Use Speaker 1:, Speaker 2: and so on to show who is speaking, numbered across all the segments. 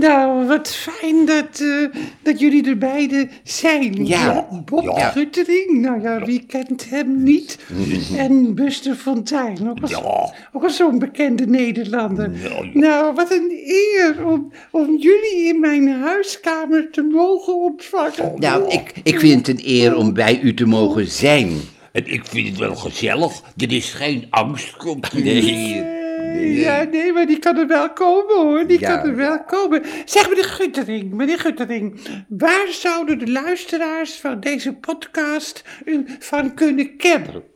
Speaker 1: Nou, wat fijn dat, eh, dat jullie er beiden zijn.
Speaker 2: Ja.
Speaker 1: Bob
Speaker 2: Ja.
Speaker 1: Guttering, nou ja, wie kent hem niet? En Buster Fontijn, ook al,
Speaker 2: Ja.
Speaker 1: ook al zo'n bekende Nederlander.
Speaker 2: Ja.
Speaker 1: Nou, wat een eer om, om jullie in mijn huiskamer te mogen ontvangen.
Speaker 2: Nou, ik, ik vind het een eer om bij u te mogen zijn.
Speaker 3: En ik vind het wel gezellig. Er is geen angst. Komt u.
Speaker 1: Eh, Ja, nee, maar die kan er wel komen hoor. Die
Speaker 2: Ja.
Speaker 1: kan er wel komen. Zeg meneer Guttering, meneer Guttering, waar zouden de luisteraars van deze podcast u van kunnen kennen?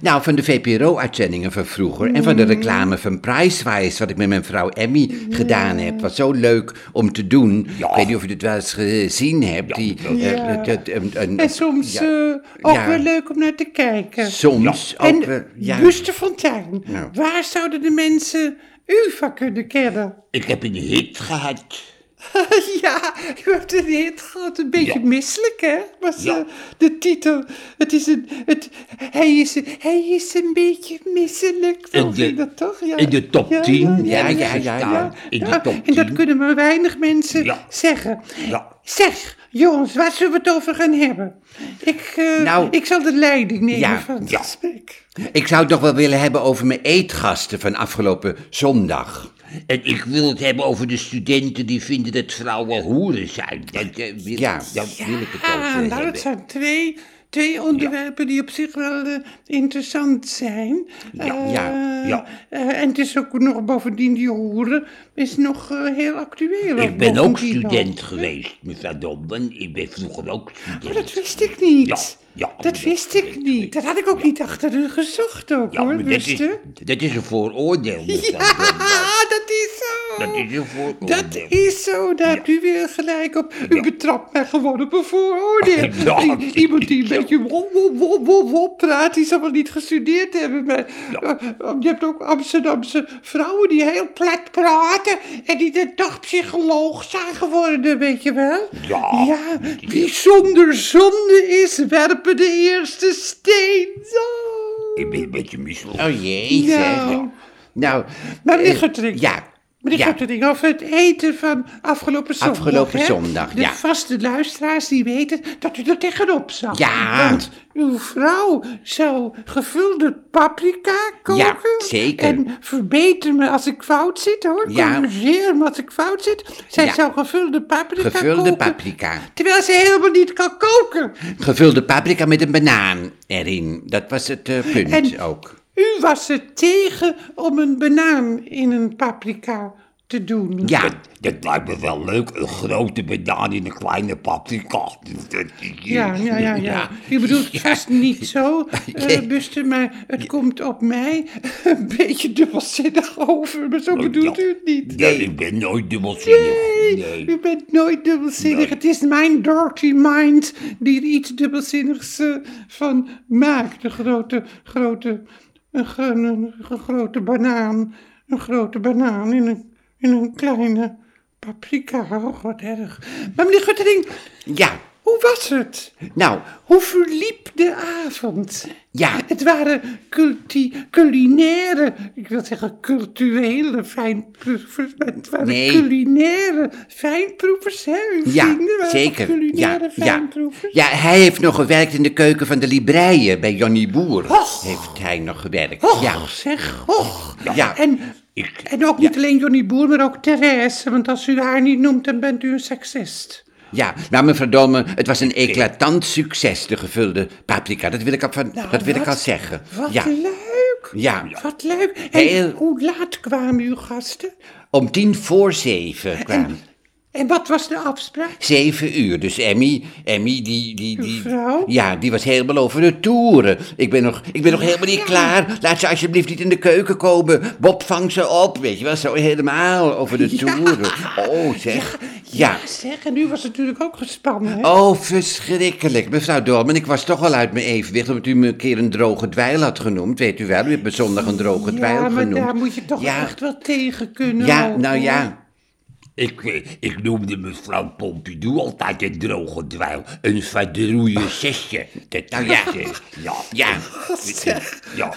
Speaker 2: Nou, van de VPRO-uitzendingen van vroeger en van de reclame van Pricewise, wat ik met mijn vrouw Emmy gedaan heb. Was zo leuk om te doen.
Speaker 3: Ja.
Speaker 2: Ik weet niet of je het wel eens gezien hebt. die, eh,
Speaker 1: Ja.
Speaker 2: het- het- een- een-
Speaker 1: En soms
Speaker 2: ja,
Speaker 1: eh, ook
Speaker 2: Ja.
Speaker 1: wel leuk om naar te kijken.
Speaker 2: soms ook.
Speaker 1: en
Speaker 2: eh, ja. Nou.
Speaker 1: Buster Fontijn,
Speaker 2: Ja.
Speaker 1: waar zouden de mensen u van kunnen kennen?
Speaker 3: Ik heb een hit gehad.
Speaker 1: Ja, u hebt een hit gehad. Een beetje
Speaker 3: Ja.
Speaker 1: misselijk, hè? Was
Speaker 3: Ja.
Speaker 1: eh, de titel. Het is een... Het, hij, is, hij is een beetje misselijk.
Speaker 3: In
Speaker 1: Zo
Speaker 3: de-
Speaker 1: ging dat toch? Ja.
Speaker 3: in de top 10,
Speaker 2: ja, ja,
Speaker 3: ja,
Speaker 2: ja,
Speaker 3: ja,
Speaker 2: ja.
Speaker 3: In de
Speaker 1: Ja,
Speaker 3: top 10.
Speaker 1: en dat kunnen maar weinig mensen
Speaker 3: Ja.
Speaker 1: zeggen.
Speaker 3: Ja.
Speaker 1: Zeg, jongens, waar zullen we het over gaan hebben? Ik, eh,
Speaker 2: Nou.
Speaker 1: ik zal de leiding nemen
Speaker 2: Ja,
Speaker 1: van het
Speaker 3: ja.
Speaker 1: gesprek.
Speaker 2: Ik zou het nog wel willen hebben over mijn eetgasten van afgelopen zondag.
Speaker 3: En ik wil het hebben over de studenten die vinden dat vrouwen hoeren zijn. Dat, eh, wil,
Speaker 2: Ja.
Speaker 3: daar wil ik het over
Speaker 1: Ah,
Speaker 3: hebben.
Speaker 1: nou, dat zijn twee, twee onderwerpen die op zich wel eh, interessant zijn. Eh,
Speaker 2: ja,
Speaker 3: ja.
Speaker 1: eh, en het is ook nog bovendien die hoeren is nog eh, heel actueel.
Speaker 3: Ik ben ook
Speaker 1: bovendien nog.
Speaker 3: student geweest, mevrouw Dommen. Ik ben vroeger ook student.
Speaker 1: Oh, dat wist ik niet.
Speaker 3: Ja, ja, maar
Speaker 1: dat
Speaker 3: dat
Speaker 1: wist
Speaker 3: weet
Speaker 1: ik
Speaker 3: ik
Speaker 1: niet.
Speaker 3: niet.
Speaker 1: Dat had ik ook niet achter u gezocht ook,
Speaker 3: Ja, Nou, maar
Speaker 1: hoor,
Speaker 3: dat, is,
Speaker 1: wist u?
Speaker 3: dat is een vooroordeel, mevrouw
Speaker 1: Ja,
Speaker 3: Dommen.
Speaker 1: dat is zo.
Speaker 3: Dat is een vooroordeel.
Speaker 1: Dat
Speaker 3: eh,
Speaker 1: is zo, daar hebt u weer gelijk op. U betrapt mij gewoon op een vooroordeel.
Speaker 3: Ja.
Speaker 1: I- Iemand die een beetje wop, wop, wop, wop, wop praat, die zal wel niet gestudeerd hebben. Maar eh, je hebt ook Amsterdamse vrouwen die heel plat praten en die dan toch psycholoog zijn geworden, weet je wel?
Speaker 3: Ja.
Speaker 1: wie zonder zonde is, werpen de eerste steen. Oh.
Speaker 3: Ik ben een beetje misselijk.
Speaker 2: Oh jee, zeg.
Speaker 1: Nou.
Speaker 2: Nou,
Speaker 1: Maar meneer
Speaker 2: eh,
Speaker 1: Guttering.
Speaker 2: Ja.
Speaker 1: Meneer
Speaker 2: ja.
Speaker 1: Guttering, over het eten van afgelopen zondag.
Speaker 2: Afgelopen
Speaker 1: hè?
Speaker 2: zondag,
Speaker 1: de
Speaker 2: ja.
Speaker 1: vaste luisteraars die weten dat u er tegenop zat.
Speaker 2: Ja.
Speaker 1: Want uw vrouw zou gevulde paprika koken.
Speaker 2: Ja, zeker.
Speaker 1: En verbeter me als ik fout zit hoor.
Speaker 2: Ja.
Speaker 1: Corrigeer me als ik fout zit. Zij
Speaker 2: Ja.
Speaker 1: zou gevulde paprika
Speaker 2: Gevulde
Speaker 1: koken.
Speaker 2: paprika.
Speaker 1: Terwijl ze helemaal niet kan koken.
Speaker 2: Gevulde paprika met een banaan erin. Dat was het eh, punt
Speaker 1: En-
Speaker 2: ook.
Speaker 1: U was er tegen om een banaan in een paprika te doen.
Speaker 2: Ja.
Speaker 3: Dat, dat lijkt me wel leuk. Een grote banaan in een kleine paprika. Dat- dat-
Speaker 1: Ja, ja, ja, ja. U bedoelt vast niet zo, eh,
Speaker 2: Nee.
Speaker 1: Buster, maar het komt op mij een beetje dubbelzinnig over, maar zo bedoelt u het niet.
Speaker 3: Nee, ik ben nooit dubbelzinnig.
Speaker 1: Nee, u bent nooit dubbelzinnig. Het is mijn dirty mind die er iets dubbelzinnigs eh, van maakt. Een grote, grote, een, gro- een gro- grote banaan. Een grote banaan in een, in een kleine paprika. Oh, wat erg. Maar meneer Guttering,
Speaker 2: Ja.
Speaker 1: hoe was het?
Speaker 2: Nou,
Speaker 1: Hoe verliep de avond?
Speaker 2: Ja.
Speaker 1: Het waren culti- culinaire, ik wil zeggen culturele fijnproevers, maar het waren
Speaker 2: Nee.
Speaker 1: culinaire fijnproevers, hè? Uw
Speaker 2: ja,
Speaker 1: vrienden waren
Speaker 2: zeker. Ja,
Speaker 1: culinaire
Speaker 2: ja.
Speaker 1: fijnproevers.
Speaker 2: ja, hij heeft nog gewerkt in de keuken van de Libreien bij Johnny Boer.
Speaker 1: Och.
Speaker 2: Heeft hij nog gewerkt.
Speaker 1: Och,
Speaker 2: Ja.
Speaker 1: zeg, och.
Speaker 2: Ja.
Speaker 1: En,
Speaker 3: Ik-
Speaker 1: en ook niet alleen Johnny Boer, maar ook Therese, want als u haar niet noemt, dan bent u een seksist.
Speaker 2: Ja, nou mevrouw Dolmen, het was een eclatant succes, de gevulde paprika. Dat wil ik al, van, dat wil ik
Speaker 1: Nou, wat-
Speaker 2: al zeggen.
Speaker 1: Wat
Speaker 2: ja.
Speaker 1: leuk.
Speaker 2: Ja.
Speaker 1: Wat leuk. En
Speaker 2: Heel-
Speaker 1: hoe laat kwamen uw gasten?
Speaker 2: Om tien voor zeven kwam.
Speaker 1: En wat was de afspraak?
Speaker 2: Zeven uur, dus Emmy, Emmy die, die,
Speaker 1: Uw
Speaker 2: die...
Speaker 1: vrouw?
Speaker 2: Ja, die was helemaal over de toeren. Ik ben nog, ik ben nog helemaal niet
Speaker 1: Ja.
Speaker 2: klaar. Laat ze alsjeblieft niet in de keuken komen. Bob, vang ze op, weet je wel. Zo helemaal over de toeren. Oh, zeg. Ja.
Speaker 1: Zeg, en u was natuurlijk ook gespannen, hè?
Speaker 2: Oh, verschrikkelijk. Mevrouw Dorman, ik was toch al uit mijn evenwicht... omdat u me een keer een droge dwijl had genoemd. Weet u wel, u hebt me zondag een droge dwijl
Speaker 1: ja, maar
Speaker 2: genoemd.
Speaker 1: daar moet je toch
Speaker 2: Ja.
Speaker 1: echt wel tegen kunnen.
Speaker 2: Ja,
Speaker 1: ook,
Speaker 2: nou
Speaker 1: hoor.
Speaker 2: ja.
Speaker 3: Ik, eh, ik noemde mevrouw Pompidou altijd een droge dweil. Een verdroeie zesje. Dat nou ja. Ja. Ja. Ja.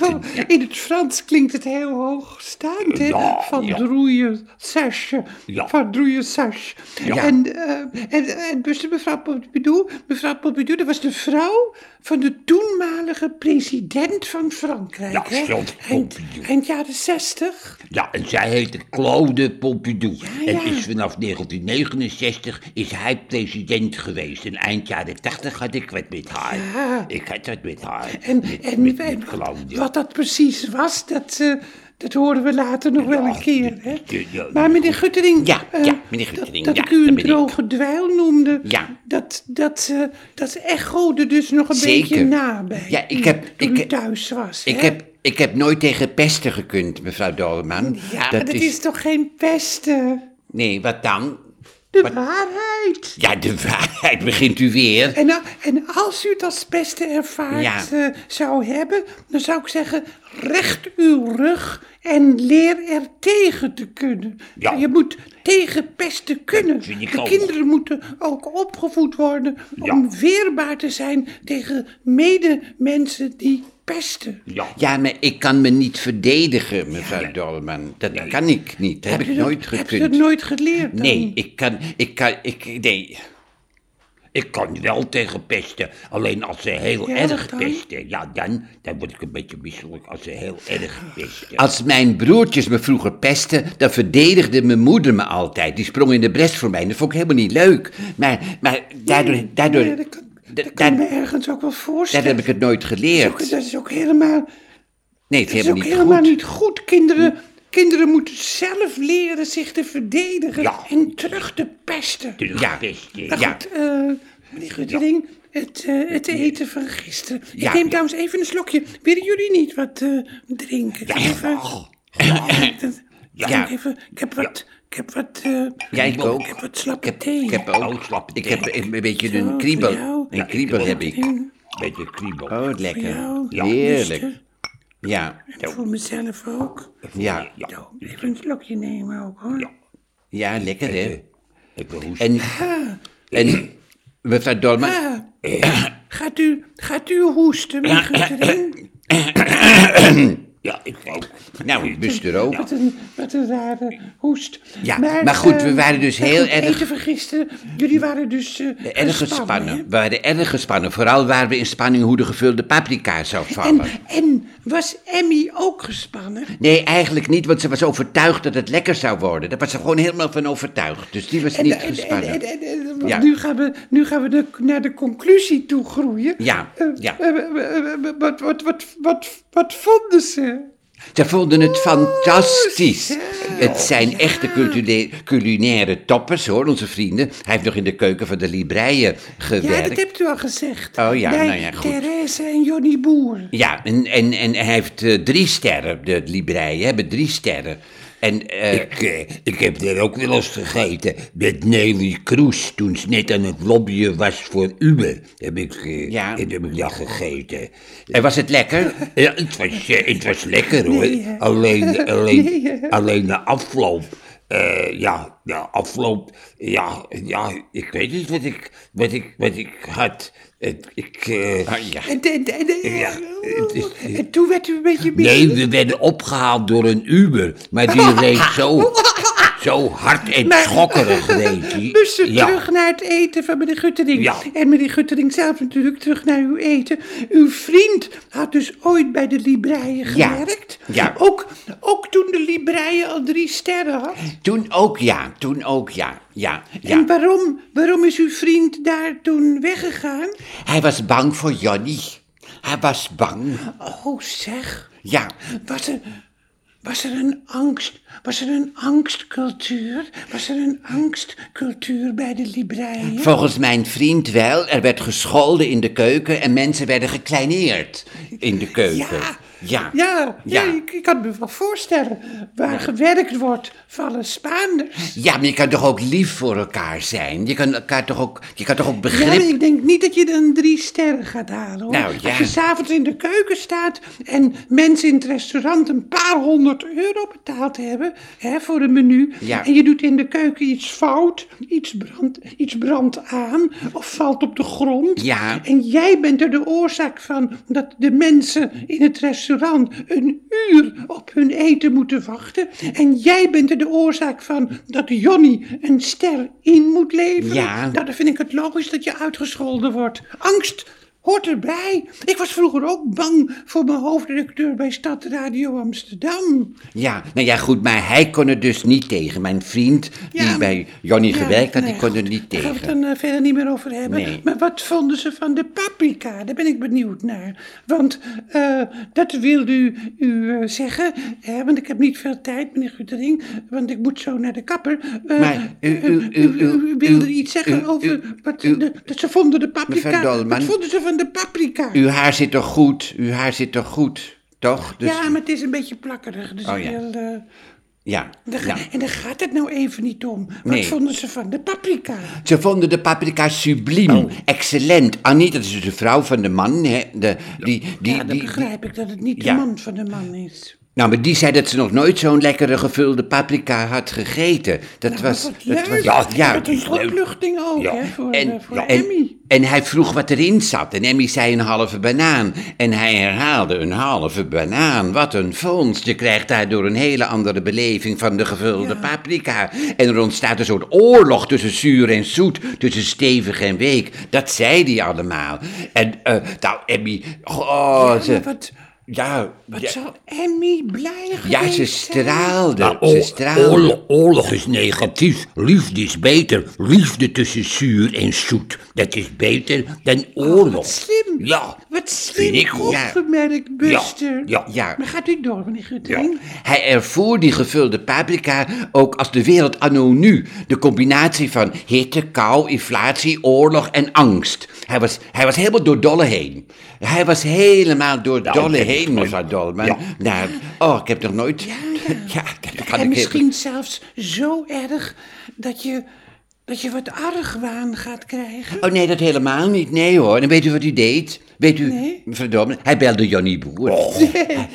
Speaker 1: Oh, In het Frans klinkt het heel hoogstaand, hè?
Speaker 3: Ja,
Speaker 1: van
Speaker 3: ja.
Speaker 1: droeie sasje.
Speaker 3: Ja.
Speaker 1: Van droeie sasje.
Speaker 3: Ja.
Speaker 1: En, eh en, en dus mevrouw Pompidou, mevrouw Pompidou, dat was de vrouw van de toenmalige president van Frankrijk.
Speaker 3: Ja,
Speaker 1: hè?
Speaker 3: Charles
Speaker 1: eind,
Speaker 3: Pompidou.
Speaker 1: eind jaren zestig.
Speaker 3: Ja, en zij heette Claude Pompidou.
Speaker 1: ja.
Speaker 3: En is vanaf 1969 is hij president geweest. En eind jaren 80 had ik wat met haar.
Speaker 1: Ja.
Speaker 3: Ik had dat met haar.
Speaker 1: En,
Speaker 3: met,
Speaker 1: en,
Speaker 3: met,
Speaker 1: en
Speaker 3: met Claude.
Speaker 1: wat dat precies was, dat, eh, dat horen we later nog wel een keer. Hè?
Speaker 3: ja, ja.
Speaker 1: Maar meneer Guttering,
Speaker 2: Ja,
Speaker 1: eh,
Speaker 2: ja, meneer
Speaker 1: dat-
Speaker 2: Guttering,
Speaker 1: dat,
Speaker 2: ja,
Speaker 1: ik u
Speaker 2: dat
Speaker 1: een
Speaker 2: ben ik.
Speaker 1: droge dweil noemde,
Speaker 2: Ja.
Speaker 1: dat, dat, eh dat echode dus nog een
Speaker 2: Zeker.
Speaker 1: beetje nabij.
Speaker 2: Ja, ik
Speaker 1: u
Speaker 2: heb-
Speaker 1: toen
Speaker 2: ik
Speaker 1: u
Speaker 2: heb-
Speaker 1: thuis was.
Speaker 2: Ik
Speaker 1: hè?
Speaker 2: heb, ik heb nooit tegen pesten gekund, mevrouw Dolman.
Speaker 1: ja, maar dat is... toch geen pesten?
Speaker 2: Nee, wat dan?
Speaker 1: De waarheid.
Speaker 2: Ja, de waarheid begint u weer.
Speaker 1: En, a- en als u het als pesten ervaart
Speaker 2: Ja.
Speaker 1: eh, zou hebben, dan zou ik zeggen, recht uw rug en leer er tegen te kunnen.
Speaker 3: Ja.
Speaker 1: Je moet tegen pesten kunnen.
Speaker 3: vind ik
Speaker 1: De
Speaker 3: ook.
Speaker 1: kinderen moeten ook opgevoed worden om weerbaar te zijn tegen medemensen die pesten.
Speaker 3: Ja.
Speaker 2: Ja, maar ik kan me niet verdedigen, mevrouw Dolman. Dat kan ik niet. Dat heb ik
Speaker 1: Heb
Speaker 2: nooit
Speaker 1: je Dus dat
Speaker 2: gekund.
Speaker 1: nooit geleerd? dan?
Speaker 2: Nee, ik kan, ik kan, ik, nee.
Speaker 3: Ik kan wel tegen pesten, alleen als ze heel
Speaker 1: Ja,
Speaker 3: erg
Speaker 1: wat dan?
Speaker 3: pesten. Ja, dan, dan word ik een beetje misselijk als ze heel erg pesten.
Speaker 2: Als mijn broertjes me vroeger pesten, dan verdedigde mijn moeder me altijd. Die sprong in de bres voor mij. en Dat vond ik helemaal niet leuk. Maar, maar daardoor, daardoor,
Speaker 1: Ja, dat kan, dat kan
Speaker 2: da-
Speaker 1: ik
Speaker 2: daar-
Speaker 1: me ergens ook wel
Speaker 2: daar
Speaker 1: voorstellen.
Speaker 2: heb ik het nooit geleerd.
Speaker 1: dat is ook helemaal...
Speaker 2: Nee, het
Speaker 1: Het is
Speaker 2: is
Speaker 1: ook
Speaker 2: helemaal niet
Speaker 1: helemaal
Speaker 2: goed. Hm.
Speaker 1: niet goed. Kinderen, kinderen moeten zelf leren zich te verdedigen
Speaker 3: Ja.
Speaker 1: en terug te pesten.
Speaker 3: Terug
Speaker 2: ja.
Speaker 3: pesten.
Speaker 1: Maar
Speaker 3: Ja.
Speaker 1: goed, eh, meneer Guttering, het, eh, het eten van gisteren.
Speaker 2: Ja,
Speaker 1: Ik neem
Speaker 2: ja.
Speaker 1: trouwens even een slokje. Willen jullie niet wat eh, drinken?
Speaker 3: Ja,
Speaker 1: Even-
Speaker 3: oh,
Speaker 1: dat-
Speaker 3: Ja.
Speaker 1: ik, even, ik heb wat... Ik heb wat... eh,
Speaker 2: Ja, ik ook.
Speaker 1: Ik heb wat slappe
Speaker 2: Ik heb,
Speaker 1: thee.
Speaker 2: ik heb
Speaker 3: Oh,
Speaker 2: ook.
Speaker 3: slap.
Speaker 2: Ik heb een een beetje
Speaker 1: Zo,
Speaker 2: een kriebel.
Speaker 1: voor jou.
Speaker 2: Een kriebel heb ik.
Speaker 3: beetje kriebel.
Speaker 2: Oh,
Speaker 1: Voor
Speaker 2: lekker.
Speaker 1: jou,
Speaker 2: Heerlijk.
Speaker 1: Mister.
Speaker 2: Ja,
Speaker 1: En voor mezelf ook.
Speaker 2: ja,
Speaker 3: Ja.
Speaker 1: Nou, even een slokje nemen ook, hoor.
Speaker 3: Ja.
Speaker 2: ja, lekker hè.
Speaker 1: eh,
Speaker 3: Ik wil hoesten.
Speaker 2: En, en mevrouw Dolman,
Speaker 1: Ah, gaat, u, gaat u hoesten, meneer Guttering?
Speaker 3: Ja, ik ook.
Speaker 2: nou, u bust er ook.
Speaker 1: Wat een, wat een rare hoest.
Speaker 2: Ja, maar goed, we
Speaker 1: eh,
Speaker 2: waren dus
Speaker 1: maar
Speaker 2: heel
Speaker 1: goed,
Speaker 2: erg-
Speaker 1: Eten van gisteren, jullie waren dus eh,
Speaker 2: Erg gespannen. We waren erg gespannen. Vooral waren we in spanning hoe de gevulde paprika zou
Speaker 1: hè?
Speaker 2: vallen.
Speaker 1: En, en was Emmy ook gespannen?
Speaker 2: Nee, eigenlijk niet, want ze was overtuigd dat het lekker zou worden. Daar was ze gewoon helemaal van overtuigd. Dus die was
Speaker 1: En-
Speaker 2: niet
Speaker 1: en- en-
Speaker 2: gespannen.
Speaker 1: en- en- en- want
Speaker 2: Ja.
Speaker 1: Nu gaan we, nu gaan we de- naar de conclusie toe groeien.
Speaker 2: Ja,
Speaker 1: Eh,
Speaker 2: ja.
Speaker 1: eh, eh, eh, wat, wat, wat, wat, wat vonden ze?
Speaker 2: Ze vonden het fantastisch.
Speaker 1: zo.
Speaker 2: Het zijn echte cultule- culinaire toppers, hoor, onze vrienden. Hij heeft nog in de keuken van de Libreien
Speaker 1: Ja,
Speaker 2: gewerkt.
Speaker 1: dat hebt u al gezegd.
Speaker 2: Oh ja,
Speaker 1: Bij
Speaker 2: nou ja, goed.
Speaker 1: Therese en Johnny Boer.
Speaker 2: Ja, en, en, en hij heeft eh, drie sterren, de Libreien hebben drie sterren. En eh,
Speaker 3: Ik, eh, ik heb daar ook wel eens gegeten met Nelly Kroes toen ze net aan het lobbyen was voor Uber. Heb ik, eh,
Speaker 2: Ja.
Speaker 3: heb ik dat gegeten.
Speaker 2: en was het lekker?
Speaker 3: Ja, het was, eh, het was lekker hoor.
Speaker 1: Nee, hè?
Speaker 3: Alleen, alleen,
Speaker 1: Nee, hè?
Speaker 3: alleen de afloop. eh, ja, de afloop. Ja, ja, ik weet niet wat ik, wat ik, wat ik had. Het- Ik, eh,
Speaker 2: Oh, ja.
Speaker 1: En, en, en, en-
Speaker 3: Ja, het is-
Speaker 1: en toen werd u een beetje
Speaker 3: nee, we werden opgehaald door een Uber. Maar die reed zo, zo hard en
Speaker 1: Maar-
Speaker 3: schokkerig reed die.
Speaker 1: Bussen
Speaker 3: Ja.
Speaker 1: terug naar het eten van meneer Guttering.
Speaker 3: Ja.
Speaker 1: En meneer Guttering zelf natuurlijk terug naar uw eten. Uw vriend had dus ooit bij de Libreien
Speaker 2: Ja,
Speaker 1: gewerkt.
Speaker 2: ja.
Speaker 1: Ook, ook toen de Libreien al drie sterren had.
Speaker 2: Toen ook ja, toen ook ja, ja, ja.
Speaker 1: En waarom, waarom is uw vriend daar toen weggegaan?
Speaker 2: Hij was bang voor Johnny. Hij was bang.
Speaker 1: Oh zeg,
Speaker 2: Ja,
Speaker 1: was er, was er een angst... Was er een angstcultuur? Was er een angstcultuur bij de Libreien?
Speaker 2: volgens mijn vriend wel. Er werd gescholden in de keuken en mensen werden gekleineerd in de keuken.
Speaker 1: Ja.
Speaker 2: ja.
Speaker 1: Ja, ja.
Speaker 2: Ja.
Speaker 1: ik, ik kan me wel voorstellen. Waar gewerkt wordt, vallen Spaanders.
Speaker 2: Ja, maar je kan toch ook lief voor elkaar zijn? Je kan, elkaar toch, ook, je kan toch ook
Speaker 1: Ja, maar
Speaker 2: begrip...
Speaker 1: ik denk niet dat je dan drie sterren gaat halen. Hoor.
Speaker 2: Nou, ja.
Speaker 1: Als je s'avonds in de keuken staat en mensen in het restaurant een paar honderd 100 euro betaald hebben hè, voor een menu.
Speaker 2: Ja.
Speaker 1: En je doet in de keuken iets fout, iets brandt iets brand aan of valt op de grond.
Speaker 2: Ja.
Speaker 1: En jij bent er de oorzaak van dat de mensen in het restaurant een uur op hun eten moeten wachten. En jij bent er de oorzaak van dat Johnny een ster in moet leveren.
Speaker 2: Ja.
Speaker 1: Nou, dan vind ik het logisch dat je uitgescholden wordt. Angst hoort erbij. Ik was vroeger ook bang voor mijn hoofdredacteur bij Stad Radio Amsterdam.
Speaker 2: Ja, nou ja, goed, maar hij kon er dus niet tegen. Mijn vriend, die
Speaker 1: Ja.
Speaker 2: bij Johnny
Speaker 1: Ja,
Speaker 2: gewerkt had,
Speaker 1: nou
Speaker 2: die
Speaker 1: ja,
Speaker 2: kon er niet
Speaker 1: Daar gaan we het
Speaker 2: tegen.
Speaker 1: dan eh, verder niet meer over hebben.
Speaker 2: Nee.
Speaker 1: Maar wat vonden ze van de paprika? Daar ben ik benieuwd naar. Want eh, dat wilde u, u eh, zeggen. Hè, want ik heb niet veel tijd, meneer Guttering. Want ik moet zo naar de kapper. Eh,
Speaker 2: Maar u- u-
Speaker 1: eh,
Speaker 2: u- u- u-
Speaker 1: wilde
Speaker 2: u-
Speaker 1: iets zeggen
Speaker 2: u-
Speaker 1: over...
Speaker 2: u-
Speaker 1: wat
Speaker 2: u-
Speaker 1: de- dat ze vonden de
Speaker 2: Mevrouw
Speaker 1: paprika...
Speaker 2: Dolman.
Speaker 1: Wat vonden ze van de paprika?
Speaker 2: Uw haar zit toch goed? Uw haar zit toch goed? Toch? Dus,
Speaker 1: ja, maar het is een beetje plakkerig. Dus
Speaker 2: Oh,
Speaker 1: ik
Speaker 2: ja.
Speaker 1: wil, eh,
Speaker 2: ja,
Speaker 1: daar ga-
Speaker 2: ja.
Speaker 1: En daar gaat het nou even niet om. Wat
Speaker 2: Nee.
Speaker 1: vonden ze van de paprika?
Speaker 2: Ze vonden de paprika subliem,
Speaker 1: Oh.
Speaker 2: excellent. Annie, dat is dus de vrouw van de man, hè? De, die, die,
Speaker 1: ja, dan
Speaker 2: die,
Speaker 1: begrijp ik dat het niet
Speaker 2: Ja.
Speaker 1: de man van de man is.
Speaker 2: nou, maar die zei dat ze nog nooit zo'n lekkere gevulde paprika had gegeten. Dat was...
Speaker 1: Wat
Speaker 2: dat was
Speaker 1: leuk.
Speaker 2: ja, ja,
Speaker 1: Wat een opluchting ook,
Speaker 3: Ja.
Speaker 1: hè, voor,
Speaker 2: En,
Speaker 1: eh, voor
Speaker 2: ja, en,
Speaker 1: Emmy.
Speaker 2: en hij vroeg wat erin zat. En Emmy zei een halve banaan. En hij herhaalde een halve banaan. Wat een vondst. Je krijgt daardoor een hele andere beleving van de gevulde paprika. En er ontstaat een soort oorlog tussen zuur en zoet. Tussen stevig en week. Dat zei hij allemaal. En eh, nou, Emmy... Oh,
Speaker 1: Ja,
Speaker 2: ze,
Speaker 1: maar wat,
Speaker 2: ja,
Speaker 1: wat
Speaker 2: ja,
Speaker 1: zou Emmy blij geweest
Speaker 2: ja, ze
Speaker 1: zijn?
Speaker 2: straalde.
Speaker 3: Maar
Speaker 2: ze
Speaker 3: Nou,
Speaker 1: Nou,
Speaker 3: oor-
Speaker 2: straalde.
Speaker 3: oorlog, oorlog is negatief. Liefde is beter. Liefde tussen zuur en zoet. Dat is beter dan oorlog.
Speaker 1: Oh, Wat slim.
Speaker 3: Ja.
Speaker 1: Wat
Speaker 3: Vind ik
Speaker 1: slim
Speaker 3: goed. Ja.
Speaker 1: opgemerkt, Buster.
Speaker 3: ja,
Speaker 2: ja.
Speaker 1: Maar gaat u door, meneer Guttering?
Speaker 2: Hij ervoer die gevulde paprika ook als de wereld anno nu. De combinatie van hitte, kou, inflatie, oorlog en angst. Hij was, hij was helemaal door dolle heen. Hij was helemaal door dolle
Speaker 3: Nou, ik-
Speaker 2: heen, mevrouw Dolman.
Speaker 3: Ja.
Speaker 2: Nou, oh, ik heb nog nooit... Ja, dat kan
Speaker 1: en
Speaker 2: ik
Speaker 1: misschien zelfs zo erg dat je, dat je wat argwaan gaat krijgen.
Speaker 2: Oh nee, dat helemaal niet. Nee hoor. En weet u wat hij deed? Weet u,
Speaker 1: Nee.
Speaker 2: mevrouw Dolman, hij belde Johnny Boer.
Speaker 3: Oh.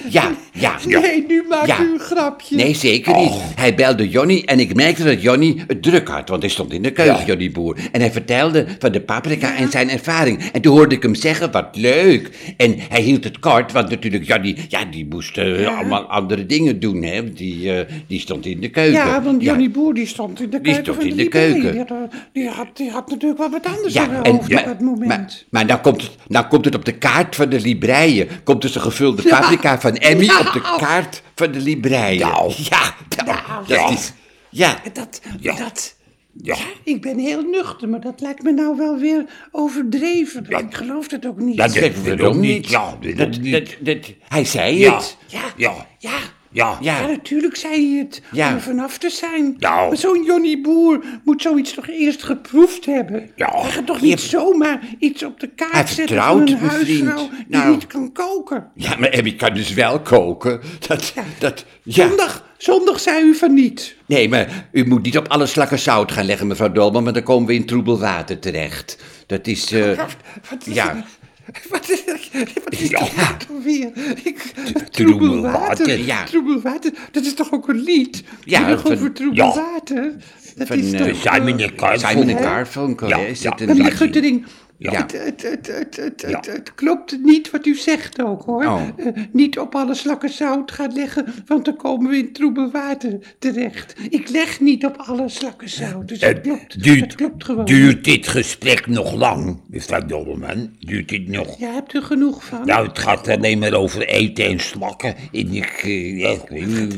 Speaker 2: Ja, ja, ja.
Speaker 1: Nee, nu maakt
Speaker 2: Ja.
Speaker 1: u een grapje.
Speaker 2: Nee, zeker niet.
Speaker 1: Oh.
Speaker 2: Hij belde Johnny en ik merkte dat Johnny het druk had, want hij stond in de keuken,
Speaker 3: Ja.
Speaker 2: Johnny Boer. En hij vertelde van de paprika en zijn ervaring. En toen hoorde ik hem zeggen, wat leuk. En hij hield het kort, want natuurlijk Johnny, ja, die moest eh, allemaal andere dingen doen, hè. want Die, eh, die stond in de keuken.
Speaker 1: Ja, want Johnny Boer die stond in de
Speaker 2: Die
Speaker 1: keuken.
Speaker 2: stond
Speaker 1: van
Speaker 2: in de
Speaker 1: IB.
Speaker 2: keuken.
Speaker 1: Die had, eh, die, had, die had natuurlijk wel wat anders in
Speaker 2: Ja,
Speaker 1: haar
Speaker 2: en,
Speaker 1: hoofd op
Speaker 2: maar,
Speaker 1: dat moment.
Speaker 2: maar, maar nou, komt het, nou komt het op de kaart van de libreien. Komt dus de gevulde paprika van Emmy
Speaker 1: Ja.
Speaker 2: op de kaart van de libreien.
Speaker 3: Nou.
Speaker 2: Ja, nou,
Speaker 1: Nou.
Speaker 2: dat is... Ja.
Speaker 1: dat,
Speaker 3: Ja.
Speaker 1: dat,
Speaker 3: Ja.
Speaker 1: ik ben heel nuchter, maar dat lijkt me nou wel weer overdreven. Ik geloof dat ook niet.
Speaker 3: Dat-
Speaker 2: Dat weet ik ook niet.
Speaker 3: Ja, dat weet ik
Speaker 2: dat,
Speaker 3: niet.
Speaker 2: dat, dat- hij zei
Speaker 3: Ja.
Speaker 2: het.
Speaker 1: ja,
Speaker 3: Ja.
Speaker 1: ja.
Speaker 3: Ja.
Speaker 1: Ja, natuurlijk zei hij het,
Speaker 2: Ja.
Speaker 1: om er vanaf te zijn.
Speaker 3: Nou.
Speaker 1: Maar zo'n Johnny Boer moet zoiets toch eerst geproefd hebben?
Speaker 3: Ja.
Speaker 1: Hij gaat toch niet zomaar iets op de kaart
Speaker 2: Hij
Speaker 1: zetten
Speaker 2: vertrouwt
Speaker 1: van een
Speaker 2: mijn vriend.
Speaker 1: huisvrouw die
Speaker 2: Nou.
Speaker 1: niet kan koken?
Speaker 2: Ja, maar Emmy kan dus wel koken. Dat, dat, ja.
Speaker 1: Zondag, zondag zei u van niet.
Speaker 2: Nee, maar u moet niet op alle slakken zout gaan leggen, mevrouw Dolman, want dan komen we in troebel water terecht. Dat is... eh,
Speaker 1: Wat is
Speaker 2: ja.
Speaker 1: er- Wat is, wat is
Speaker 3: Ja.
Speaker 1: dat nou toch weer? Ik,
Speaker 3: troebel
Speaker 1: troebel
Speaker 3: water,
Speaker 1: water,
Speaker 2: ja.
Speaker 1: troebel water. Dat is toch ook een lied?
Speaker 2: Ja,
Speaker 1: Ja,
Speaker 2: van-
Speaker 1: over troebel
Speaker 3: ja.
Speaker 1: water. Dat
Speaker 2: Van,
Speaker 1: is
Speaker 2: eh,
Speaker 1: toch...
Speaker 3: Simon
Speaker 1: eh,
Speaker 3: en Garfunkel.
Speaker 2: Simon en Garfunkel,
Speaker 3: Ja,
Speaker 2: hè, is
Speaker 3: ja.
Speaker 2: dat een
Speaker 1: Maar meneer
Speaker 2: liedje?
Speaker 1: Guttering,
Speaker 2: Ja.
Speaker 1: het, het, het, het, het, het,
Speaker 3: Ja.
Speaker 1: het klopt niet wat u zegt ook hoor.
Speaker 2: Oh.
Speaker 1: Eh, niet op alle slakken zout gaan leggen, want dan komen we in troebel water terecht. Ik leg niet op alle slakken zout, dus dat klopt. dat klopt gewoon.
Speaker 3: duurt dit gesprek nog lang, mevrouw Dobbelman? Duurt dit nog?
Speaker 1: Ja, hebt u genoeg van?
Speaker 3: Nou, het gaat alleen maar over eten en slakken. En ik, eh, ja, ik weet niet.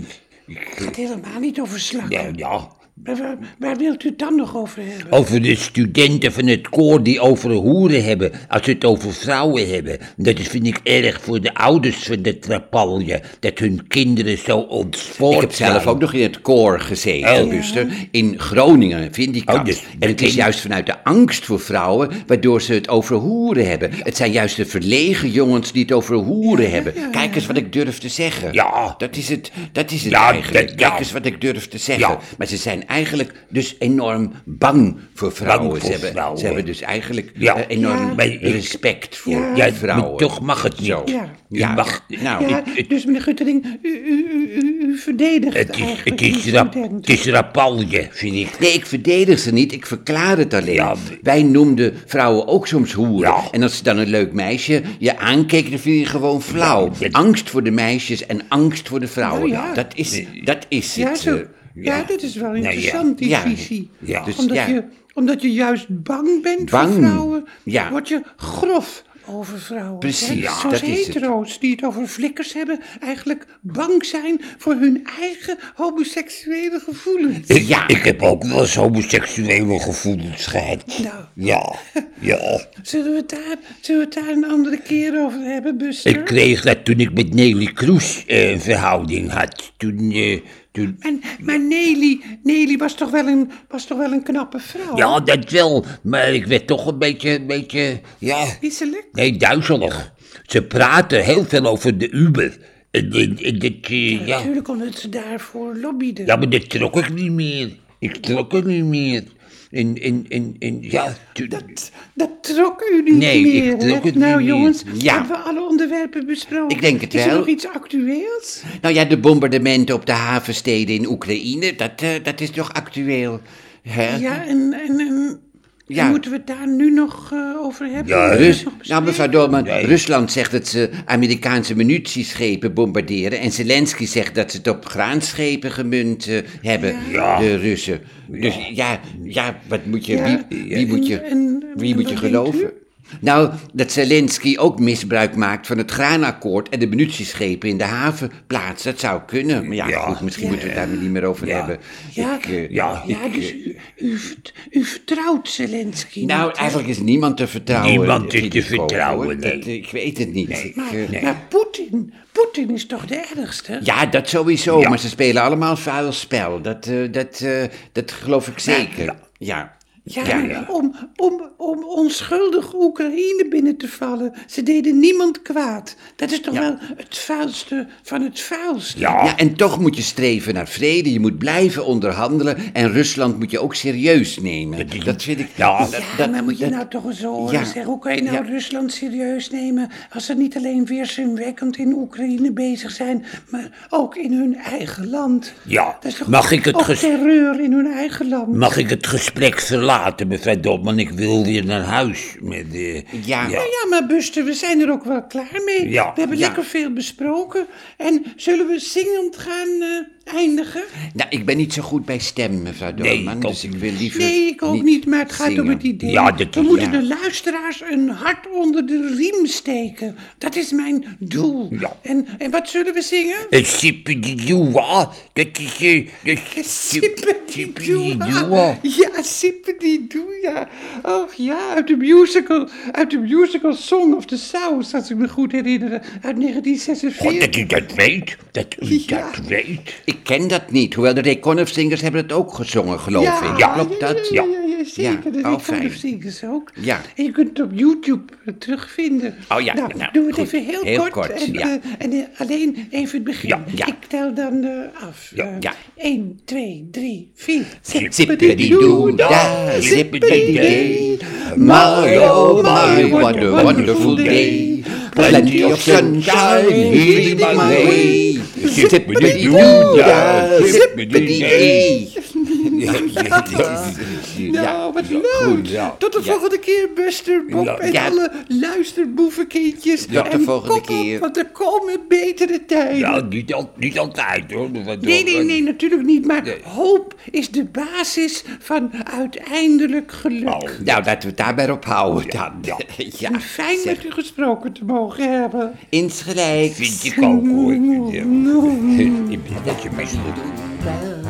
Speaker 1: Het gaat helemaal niet over slakken.
Speaker 3: Ja, ja.
Speaker 1: Maar waar, waar wilt u het dan nog over hebben?
Speaker 3: Over de studenten van het koor die over hoeren hebben, als ze het over vrouwen hebben. Dat is, vind ik erg voor de ouders van de trapalje, dat hun kinderen zo ontspoord
Speaker 2: Ik heb zelf ook nog in het koor gezeten,
Speaker 3: Oh.
Speaker 2: Buster. In Groningen, vind ik.
Speaker 3: Oh, dus
Speaker 2: en het is juist vanuit de angst voor vrouwen, waardoor ze het over hoeren hebben. Het zijn juist de verlegen jongens die het over hoeren hebben. Kijk eens wat ik durf te zeggen.
Speaker 3: Ja.
Speaker 2: Dat is het, dat is het
Speaker 3: Ja,
Speaker 2: eigenlijk.
Speaker 3: dat- ja.
Speaker 2: Kijk eens wat ik durf te zeggen.
Speaker 3: Ja.
Speaker 2: Maar ze zijn eigenlijk dus enorm bang voor vrouwen.
Speaker 3: Bang voor
Speaker 2: ze, hebben,
Speaker 3: vrouwen.
Speaker 2: ze hebben dus eigenlijk
Speaker 3: Ja.
Speaker 2: eh, enorm
Speaker 1: Ja.
Speaker 2: bij- respect voor
Speaker 1: Ja.
Speaker 3: Ja,
Speaker 2: vrouwen.
Speaker 3: maar toch mag het niet.
Speaker 2: Zo.
Speaker 1: Ja.
Speaker 3: Je
Speaker 2: Ja,
Speaker 3: mag-
Speaker 2: nou,
Speaker 1: Ja,
Speaker 3: ik- ik-
Speaker 1: dus meneer Guttering, u, u, u, u- u verdedigt
Speaker 2: Eh,
Speaker 3: Het is,
Speaker 1: eigenlijk
Speaker 3: het is,
Speaker 2: nou,
Speaker 1: uw
Speaker 3: rap,
Speaker 1: student.
Speaker 3: het is rapalje, vind ik.
Speaker 2: Nee, ik verdedig ze niet, ik verklaar het alleen.
Speaker 3: Ja.
Speaker 2: Wij noemden vrouwen ook soms hoeren.
Speaker 3: Ja.
Speaker 2: En als ze dan een leuk meisje je aankeek, dan vind je gewoon flauw.
Speaker 3: Ja, ja.
Speaker 2: Angst voor de meisjes en angst voor de vrouwen.
Speaker 1: Nou ja.
Speaker 2: dat, is, dat is
Speaker 1: Ja,
Speaker 2: het.
Speaker 1: zo.
Speaker 2: eh,
Speaker 1: ja. dat is wel interessant, die
Speaker 2: ja,
Speaker 1: visie.
Speaker 3: ja. Dus
Speaker 1: omdat,
Speaker 2: ja.
Speaker 1: Je, omdat je juist bang bent
Speaker 2: Bang,
Speaker 1: voor vrouwen,
Speaker 2: ja.
Speaker 1: word je grof over vrouwen.
Speaker 2: Precies,
Speaker 1: hè?
Speaker 2: ja,
Speaker 1: Zoals
Speaker 2: dat is het.
Speaker 1: hetero's die het over flikkers hebben, eigenlijk bang zijn voor hun eigen homoseksuele gevoelens.
Speaker 3: Ik,
Speaker 2: Ja.
Speaker 3: ik heb ook wel eens homoseksuele gevoelens gehad.
Speaker 1: Nou.
Speaker 3: Ja, ja.
Speaker 1: Zullen we, het daar, zullen we het daar een andere keer over hebben, Buster?
Speaker 3: Ik kreeg dat toen ik met Nelly Kroes eh, een verhouding had. Toen, eh, toen...
Speaker 1: En, maar Nelly, Nelly was, toch wel een, was toch wel een knappe vrouw?
Speaker 3: Ja, dat wel, maar ik werd toch een beetje, een beetje, ja,
Speaker 1: Misselijk?
Speaker 3: nee, duizelig. Ze praten heel veel over de Uber. En, en- en dat, eh, ja.
Speaker 1: Natuurlijk omdat ze daarvoor lobbyden.
Speaker 3: ja, maar dat trok ik niet meer. Ik trok het niet meer. En, en, en, en ja, toen-
Speaker 1: Dat, dat trok u niet
Speaker 3: Nee, ik
Speaker 1: meer.
Speaker 3: trok
Speaker 1: hè?
Speaker 3: het
Speaker 1: nou
Speaker 3: niet meer.
Speaker 1: jongens,
Speaker 2: Ja.
Speaker 1: hebben we alle onderwerpen besproken?
Speaker 2: Ik denk het
Speaker 1: Is er
Speaker 2: wel.
Speaker 1: nog iets actueels?
Speaker 2: Nou ja, de bombardementen op de havensteden in Oekraïne, dat, eh, dat is toch actueel. Hè?
Speaker 1: Ja, en, en, en
Speaker 2: Ja.
Speaker 1: moeten we het daar nu nog eh, over hebben?
Speaker 3: Ja,
Speaker 1: Moeten we
Speaker 2: Rus,
Speaker 1: het nog
Speaker 2: nou, mevrouw
Speaker 1: bespreken?
Speaker 2: Dolman,
Speaker 3: Nee.
Speaker 2: Rusland zegt dat ze Amerikaanse munitieschepen bombarderen. En Zelensky zegt dat ze het op graanschepen gemunt eh, hebben,
Speaker 3: Ja.
Speaker 2: de Russen. Dus ja, ja wat moet je,
Speaker 1: Ja,
Speaker 2: wie, wie moet je,
Speaker 1: en- en-
Speaker 2: wie
Speaker 1: en
Speaker 2: moet je
Speaker 1: wat denkt
Speaker 2: geloven? Nou, dat Zelensky ook misbruik maakt van het graanakkoord en de munitieschepen in de haven plaatst. Dat zou kunnen. Maar ja,
Speaker 3: Ja.
Speaker 2: goed, misschien moeten we het daar niet meer over
Speaker 3: Ja.
Speaker 2: hebben.
Speaker 1: Ja,
Speaker 2: Ik, eh,
Speaker 1: ja,
Speaker 3: ja,
Speaker 1: dus u, u, vert- u vertrouwt Zelensky
Speaker 2: nou,
Speaker 1: niet, hè?
Speaker 2: eigenlijk is niemand te vertrouwen.
Speaker 3: Niemand is
Speaker 2: Piet
Speaker 3: te
Speaker 2: Koper, hoor.
Speaker 3: vertrouwen,
Speaker 2: Dat, eh,
Speaker 3: nee.
Speaker 2: Ik weet het niet. Ik,
Speaker 1: Maar,
Speaker 2: eh,
Speaker 1: maar Poetin, Poetin is toch de ergste?
Speaker 2: Ja, dat sowieso.
Speaker 3: Ja.
Speaker 2: Maar ze spelen allemaal vuil spel. Dat, eh, dat, eh, dat geloof ik zeker. Ja.
Speaker 3: ja. nou,
Speaker 2: Ja.
Speaker 1: Ja, Om, om, om onschuldig Oekraïne binnen te vallen. Ze deden niemand kwaad. Dat is toch wel het vuilste van het vuilste.
Speaker 3: ja.
Speaker 2: Ja, en toch moet je streven naar vrede. Je moet blijven onderhandelen. En Rusland moet je ook serieus nemen. Dat vind ik.
Speaker 3: Ja.
Speaker 2: dat-
Speaker 1: Ja,
Speaker 2: dat-
Speaker 1: maar moet je
Speaker 2: dat-
Speaker 1: nou toch eens horen
Speaker 2: Ja.
Speaker 1: zeggen, hoe kan je nou
Speaker 2: Ja.
Speaker 1: Rusland serieus nemen als ze niet alleen weerzinwekkend in Oekraïne bezig zijn, maar ook in hun eigen land.
Speaker 3: Ja.
Speaker 1: Dat is toch
Speaker 3: Mag ik het
Speaker 1: ook
Speaker 3: ges-
Speaker 1: terreur in hun eigen land.
Speaker 3: Mag ik het gesprek verlaten, mevrouw Dolman? Ik wil weer naar huis. Met, eh,
Speaker 2: Ja.
Speaker 1: Nou ja, maar Buster, we zijn er ook wel klaar mee.
Speaker 3: Ja,
Speaker 1: we hebben
Speaker 2: ja.
Speaker 1: lekker veel besproken. En zullen we zingend gaan eh, eindigen?
Speaker 2: Nou, ik ben niet zo goed bij stem, mevrouw
Speaker 3: Nee,
Speaker 2: Doorman.
Speaker 3: ik ook
Speaker 2: dus ik wil liever.
Speaker 1: Nee, ik ook niet, maar het gaat om
Speaker 2: zingen.
Speaker 1: het idee.
Speaker 3: Ja, dat-
Speaker 1: we moeten
Speaker 2: ja.
Speaker 1: de luisteraars een hart onder de riem steken. Dat is mijn doel.
Speaker 3: Ja.
Speaker 1: En, en wat zullen we zingen?
Speaker 3: Een sippidioa, dat is... eh, dat is-
Speaker 1: Sippedidoe.
Speaker 3: sippedidoe.
Speaker 1: Ja, Sippedidoe, ja. Och ja, uit de musical, uit de musical Song of the South, als ik me goed herinner, uit 1946.
Speaker 3: God, dat u dat weet, dat u
Speaker 1: Ja.
Speaker 3: dat weet.
Speaker 2: Ik ken dat niet. Hoewel de Reconnoff Singers hebben het ook gezongen, geloof ik.
Speaker 3: ja,
Speaker 2: Klopt dat?
Speaker 1: Ja, ja, ja,
Speaker 2: Ja,
Speaker 1: zeker.
Speaker 2: oh,
Speaker 1: dat ik
Speaker 2: fijn.
Speaker 1: vond het ook.
Speaker 2: Ja.
Speaker 1: En je kunt het op YouTube eh, terugvinden.
Speaker 2: Oh ja,
Speaker 1: nou,
Speaker 2: nou,
Speaker 1: doe het
Speaker 2: goed.
Speaker 1: even heel,
Speaker 2: Heel
Speaker 1: kort.
Speaker 2: kort,
Speaker 1: en,
Speaker 2: ja.
Speaker 1: eh, en eh, alleen even het begin.
Speaker 3: Ja, ja.
Speaker 1: Ik tel dan eh, af.
Speaker 3: Ja, ja.
Speaker 1: 1, 2, 3, 4.
Speaker 2: Zippity-doo, da, zippity-day. My, oh my, what a wonderful day. Plenty of sunshine hitting my way. Zippity-doo, da, zippity-day.
Speaker 3: Ja, ja, ja.
Speaker 1: Nou, wat
Speaker 3: goed,
Speaker 1: leuk.
Speaker 3: ja.
Speaker 1: Tot de
Speaker 2: Ja.
Speaker 1: volgende keer, Buster, Bob
Speaker 3: Ja.
Speaker 1: en
Speaker 2: Ja.
Speaker 1: alle luisterboevenkindjes.
Speaker 2: Tot de
Speaker 1: en
Speaker 2: volgende
Speaker 1: kop op,
Speaker 2: keer.
Speaker 1: want er komen betere tijden.
Speaker 3: Ja, niet, al, niet altijd hoor. mevrouw
Speaker 1: Nee, nee,
Speaker 3: Dolman.
Speaker 1: nee, natuurlijk niet. Maar
Speaker 3: Nee.
Speaker 1: hoop is de basis van uiteindelijk geluk.
Speaker 3: Nou,
Speaker 2: Nou, laten we het daarbij ophouden dan.
Speaker 3: Ja.
Speaker 2: Ja,
Speaker 1: En Fijn met u gesproken te mogen hebben.
Speaker 2: insgelijks.
Speaker 3: Eh vind ik ook hoor. Ja. Ik ben dat je meestal doet.
Speaker 1: Ja.